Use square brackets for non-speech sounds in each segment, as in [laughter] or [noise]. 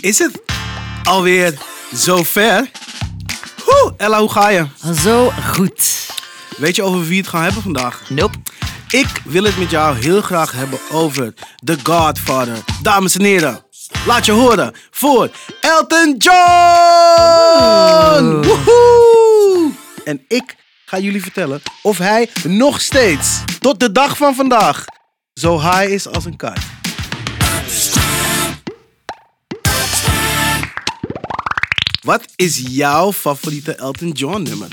is het alweer zover. Hoe, Ella, hoe ga je? Zo goed. Weet je over wie het gaan hebben vandaag? Nope. Ik wil het met jou heel graag hebben over The Godfather. Dames en heren, laat je horen voor Elton John! Woehoe! En ik ga jullie vertellen of hij nog steeds, tot de dag van vandaag, zo high is als een kaart. Wat is jouw favoriete Elton John nummer?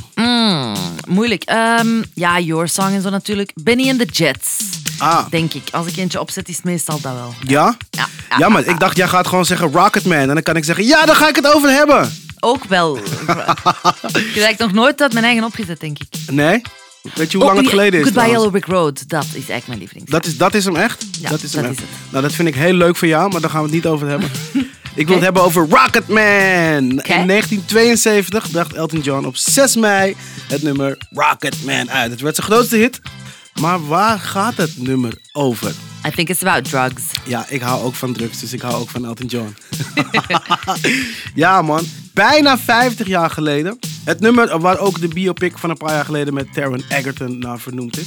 Moeilijk. Ehm, ja, Your Song en zo natuurlijk. Benny and the Jets. Ah. Denk ik. Als ik eentje opzet, is het meestal dat wel. Ja? Ja. Ja, maar ik dacht, jij gaat gewoon zeggen Rocketman. En dan kan ik zeggen, ja, daar ga ik het over hebben. Ook wel. [laughs] ik heb nog nooit uit mijn eigen opgezet, denk ik. Nee? Weet je hoe lang Oh, het ja, geleden is? Goodbye trouwens? Yellow Brick Road. Dat is eigenlijk mijn lieveling. Dat is, dat is hem echt? Ja, dat is hem dat echt. is het. Nou, dat vind ik heel leuk voor jou, maar daar gaan we het niet over [laughs] hebben. Ik wil het hebben over Rocketman. Oké. In 1972 bracht Elton John op 6 mei het nummer Rocketman uit. Het werd zijn grootste hit. Maar waar gaat het nummer over? I think it's about drugs. Ja, ik hou ook van drugs, dus ik hou ook van Elton John. [laughs] ja, man. Bijna 50 jaar geleden. Het nummer waar ook de biopic van een paar jaar geleden met Taron Egerton naar vernoemd is.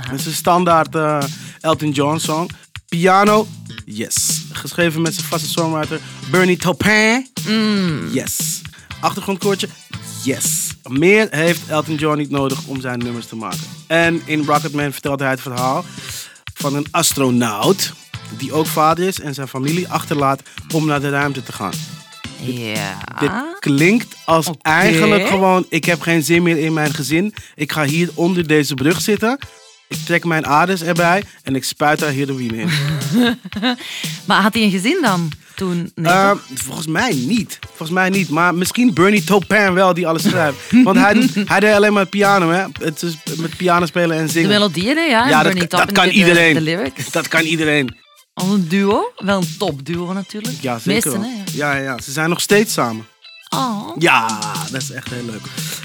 Het is een standaard eh, Elton John song. Piano, yes. Geschreven met zijn vaste songwriter Bernie Taupin, yes. Achtergrondkoortje, yes. Meer heeft Elton John niet nodig om zijn nummers te maken. En in Rocketman vertelt hij het verhaal van een astronaut... die ook vader is en zijn familie achterlaat om naar de ruimte te gaan. Ja. Dit klinkt als eigenlijk gewoon: ik heb geen zin meer in mijn gezin. Ik ga hier onder deze brug zitten. Ik trek mijn aders erbij en ik spuit daar heroïne in. Maar had hij een gezin dan toen? Nee, Eh, toch? volgens mij niet. Volgens mij niet. Maar misschien Bernie Taupin wel, die alles [laughs] schrijft. Want hij, doet- hij deed alleen maar piano, hè? Het is met piano spelen en de zingen. melodieën, hè, ja. en ja, dat, Bernie dat Taupin kan deed de- iedereen. De lyrics. Dat kan iedereen. Als een duo. Wel een topduo natuurlijk. Ja, zeker. Meesten, wel. hè. ja. ja, ja, ja. Ze zijn nog steeds samen. Oh. Ja, dat is echt heel leuk.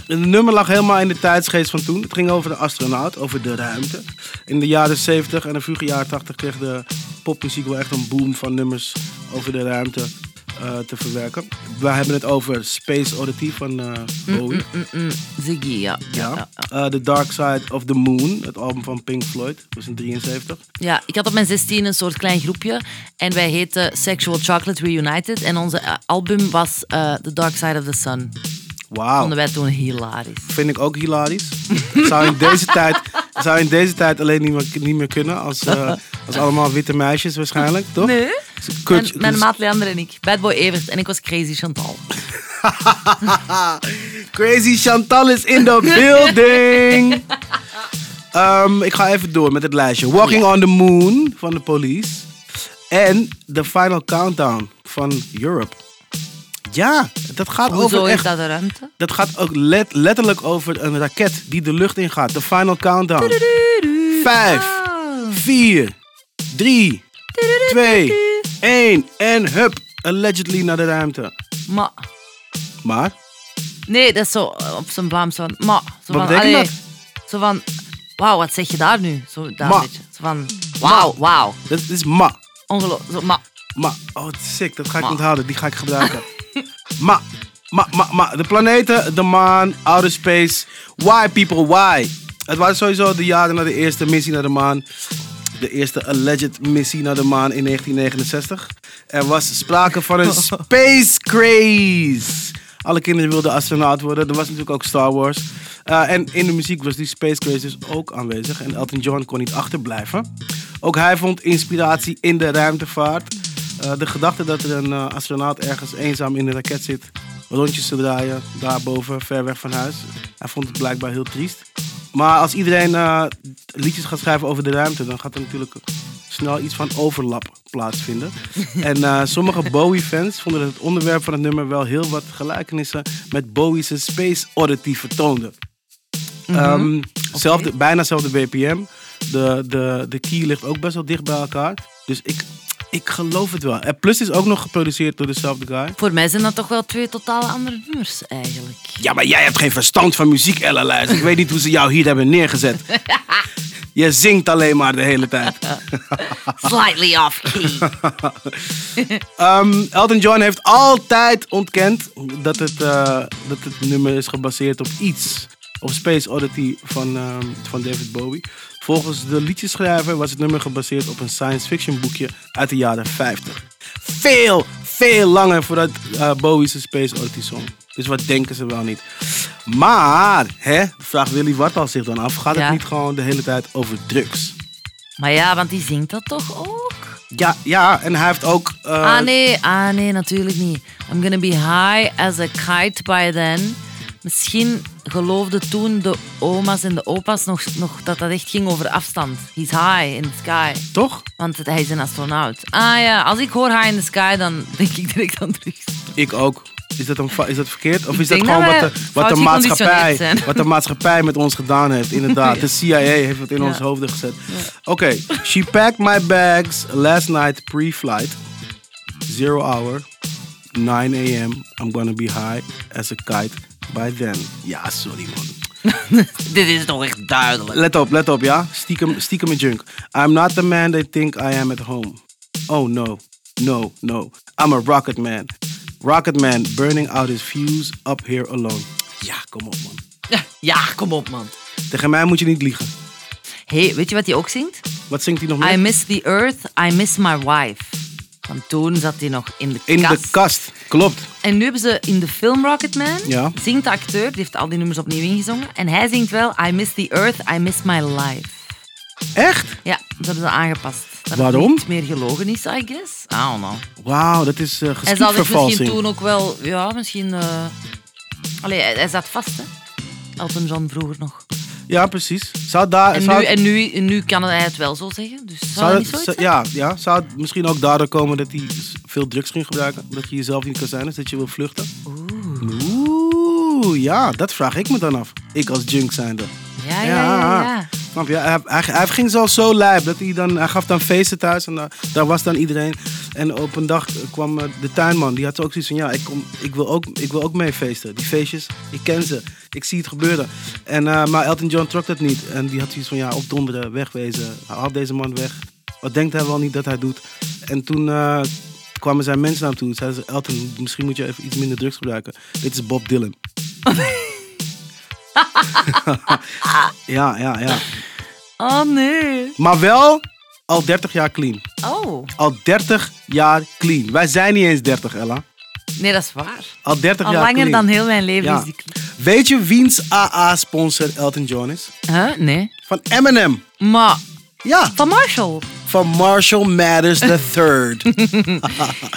Het nummer lag helemaal in de tijdsgeest van toen. Het ging over de astronaut, over de ruimte. In de jaren 70 en de vroege jaren 80 kreeg de popmuziek wel echt een boom van nummers over de ruimte eh, te verwerken. We hebben het over Space Oddity van eh, Mm, Bowie. Mm-mm. Ziggy, ja. Ja. ja. Eh, the Dark Side of the Moon, het album van Pink Floyd, was in 73. Ja, ik had op mijn 16 een soort klein groepje en wij heten Sexual Chocolate Reunited en onze eh, album was eh, The Dark Side of the Sun. Wauw. Vonden wij toen hilarisch. vind ik ook hilarisch. zou, in deze tijd, zou in deze tijd alleen niet meer, niet meer kunnen. Als, eh, als allemaal witte meisjes waarschijnlijk, toch? Nee. Kut, Mijn, mijn dus- maat Leander en ik, Bad Boy Evert en ik was Crazy Chantal. Crazy Chantal is in the building. Ehm, ik ga even door met het lijstje. Walking on the Moon van de Police. En The Final Countdown van Europe. Ja, dat gaat Hoezo over is Oh, echt... dat de ruimte? Dat gaat ook let- letterlijk over een raket die de lucht ingaat. De Final Countdown. Vijf, Oh. vier, drie, twee, één. En hup, allegedly naar de ruimte. Maar, Maar, nee, dat is zo eh, op zijn Vlaams van, maar. Zo Wat van, betekent allee, Zo van, wauw, wat zeg je daar nu? Zo, daar Ma. een beetje. Zo van, wauw, wauw. dat is ma. Ongelooflijk. Zo, maar, Ma. Oh, het is sick. Dat ga ik Ma. onthouden. Die ga ik gebruiken. ma. Ma, ma, ma. De planeten, de maan, outer space. Why, people, why? Het waren sowieso de jaren na de eerste missie naar de maan. De eerste alleged missie naar de maan in 1969. Er was sprake van een space craze. Alle kinderen wilden astronaut worden. Er was natuurlijk ook Star Wars. Eh, en in de muziek was die space craze dus ook aanwezig. En Elton John kon niet achterblijven. Ook hij vond inspiratie in de ruimtevaart. Eh, de gedachte dat er een eh, astronaut ergens eenzaam in een raket zit, rondjes te draaien, daarboven, ver weg van huis. Hij vond het blijkbaar heel triest. Maar als iedereen eh, liedjes gaat schrijven over de ruimte, dan gaat er natuurlijk snel iets van overlap plaatsvinden. en eh, sommige Bowie-fans vonden dat het onderwerp van het nummer wel heel wat gelijkenissen met Bowie's Space Oddity vertoonde. Ehm, zelfde, bijna zelfde BPM. De, de, de key ligt ook best wel dicht bij elkaar. Dus ik, ik geloof het wel. En plus is ook nog geproduceerd door dezelfde guy. voor mij zijn dat toch wel twee totale andere nummers [laughs] eigenlijk. Ja, maar jij hebt geen verstand van muziek, Ella Lijs. Ik weet niet hoe ze jou hier hebben neergezet. Je zingt alleen maar de hele tijd. Slightly off key. Ehm, Elton John heeft altijd ontkend dat het, eh, dat het nummer is gebaseerd op iets. Op Space Oddity van, ehm, van David Bowie. Volgens de liedjeschrijver was het nummer gebaseerd op een science fiction boekje uit de jaren 50. Veel, veel langer voordat eh, Bowie's Space Oddity song. Dus wat denken ze wel niet. Maar, hè, vraagt Willy Wartal zich dan af, gaat Ja. het niet gewoon de hele tijd over drugs? Maar ja, want die zingt dat toch ook? Ja, ja en hij heeft ook... eh, ah nee, ah nee, natuurlijk niet. I'm gonna be high as a kite by then. Misschien geloofden toen de oma's en de opa's nog, nog dat dat echt ging over afstand. He's high in the sky. Toch? Want het- hij is een astronaut. Ah ja, als ik hoor high in the sky, dan denk ik direct aan drugs. Ik ook. Is dat, een, fa- is dat verkeerd? Of Ik is dat denk gewoon dat wij wat de, wat, fout de geconditioneerd maatschappij, zijn. wat de maatschappij met ons gedaan heeft? [laughs] Inderdaad, de CIA heeft het in ons hoofden gezet. Oké, she packed my bags last night pre-flight. Zero hour, 9 a.m. I'm gonna be high as a kite by then. Ja, sorry man. [laughs] Dit is toch echt duidelijk. Let op, let op, ja? Stiekem, stiekem in junk. I'm not the man they think I am at home. Oh no, no, no. I'm a rocket man. Rocket man burning out his fuse up here alone. Ja, kom op man. Ja, kom op man. Tegen mij moet je niet liegen. Hé, hey, weet je wat hij ook zingt? Wat zingt hij nog I meer? miss the earth, I miss my wife. Want toen zat hij nog in de In kast. de kast. Klopt. En nu hebben ze in de film Rocketman, Ja. zingt de acteur, die heeft al die nummers opnieuw ingezongen. En hij zingt wel I miss the earth, I miss my life. Echt? Ja, dat hebben ze aangepast. Dat het Waarom? niet meer gelogen is, I guess. I don't know. Wauw, dat is eh Hij zal zich misschien geschiedvervalsing. toen ook wel, ja, misschien... eh, Allee, hij, hij zat vast, hè. Elton John vroeger nog. Ja, precies. Zou daar... En, zou, nu, en, nu, en nu kan hij het wel zo zeggen, dus zou, dat niet het- zoiets zou- zijn? ja, ja, zou het misschien ook daardoor komen dat hij s- veel drugs ging gebruiken? Dat je jezelf niet kan zijn, dus dat je wil vluchten? Oeh. ja, dat vraag ik me dan af. Ik als junk zijnde. Ja, ja, ja. ja. Snap je? Hij, hij, hij ging zelfs zo lijp. Dat hij, dan, hij gaf dan feesten thuis en daar, daar was dan iedereen. En op een dag eh, kwam eh, de tuinman. Die had ook zoiets van, ja, ik, kom, ik, wil ook, ik wil ook mee feesten. Die feestjes, ik ken ze. Ik zie het gebeuren. En, eh, maar Elton John trok dat niet. En die had zoiets van, ja, opdonderen, wegwezen. Haal deze man weg. Wat denkt hij wel niet dat hij doet? En toen eh, kwamen zijn mensen naar hem toe. Zeiden ze, Elton, misschien moet je even iets minder drugs gebruiken. Dit is Bob Dylan. [laughs] Ja, ja, ja. Oh, nee. Maar wel al 30 jaar clean. Oh. Al 30 jaar clean. Wij zijn niet eens 30, Ella. Nee, dat is waar. Al 30 Al jaar langer clean. dan heel mijn leven Ja. is die kle- Weet je wiens AA-sponsor Elton John is? Huh? Nee. Van Eminem. Maar Ja, van Marshall? van Marshall Mathers [laughs] III.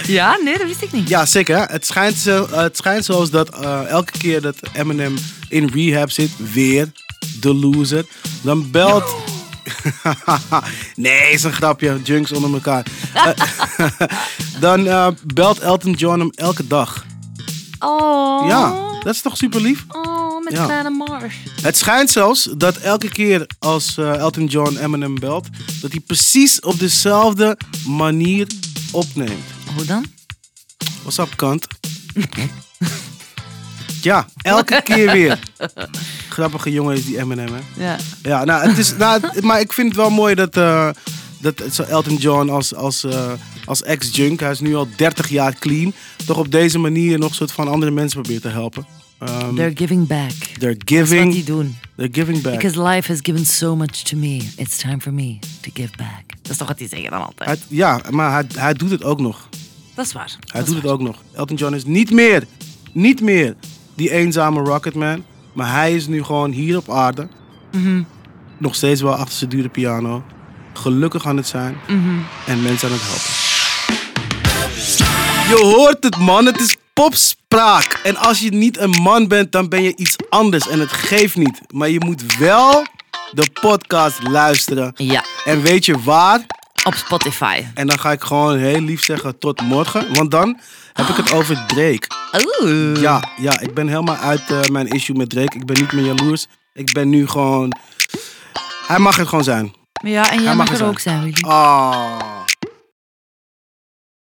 Ja, nee, dat wist ik niet. ja, zeker. hè? Het schijnt, zo, het schijnt zoals dat eh, elke keer dat Eminem in rehab zit, weer de loser, dan belt... [laughs] nee, is een grapje. Junks onder elkaar. Eh, [laughs] dan eh, belt Elton John hem elke dag. Oh. Ja, dat is toch super lief? Oh, met Ja. kleine Mars. Het schijnt zelfs dat elke keer als eh, Elton John Eminem belt, dat hij precies op dezelfde manier opneemt. Hoe dan? What's up, kant? ja, elke keer weer. Grappige jongen is die Eminem, hè? Ja. Ja, nou, het is, nou, het- maar ik vind het wel mooi dat, eh, dat zo Elton John als, als, eh, als ex-junk, hij is nu al 30 jaar clean, toch op deze manier nog soort van andere mensen probeert te helpen. Ehm, Um, They're giving back. they're Dat is wat die giving, doen. they're giving back. Because life has given so much to me. It's time for me to give back. Dat is toch wat die zeggen dan altijd? Hij- ja, maar hij, hij doet het ook nog. Dat is waar. Hij dat doet is het waar. ook nog. Elton John is niet meer, niet meer die eenzame Rocketman. Maar hij is nu gewoon hier op aarde. Nog steeds wel achter zijn dure piano. Gelukkig aan het zijn. En mensen aan het helpen. Je hoort het man, het is popspraak. En als je niet een man bent, dan ben je iets anders. En het geeft niet. Maar je moet wel de podcast luisteren. Ja, En weet je waar? op Spotify. En dan ga ik gewoon heel lief zeggen tot morgen. Want dan heb ik het over Drake. Oeh. Ja, ja ik ben helemaal uit eh, mijn issue met Drake. Ik ben niet meer jaloers. Ik ben nu gewoon... Hij mag het gewoon zijn. Ja, en jij mag mag er er zijn. ook zijn, Willy. Ah.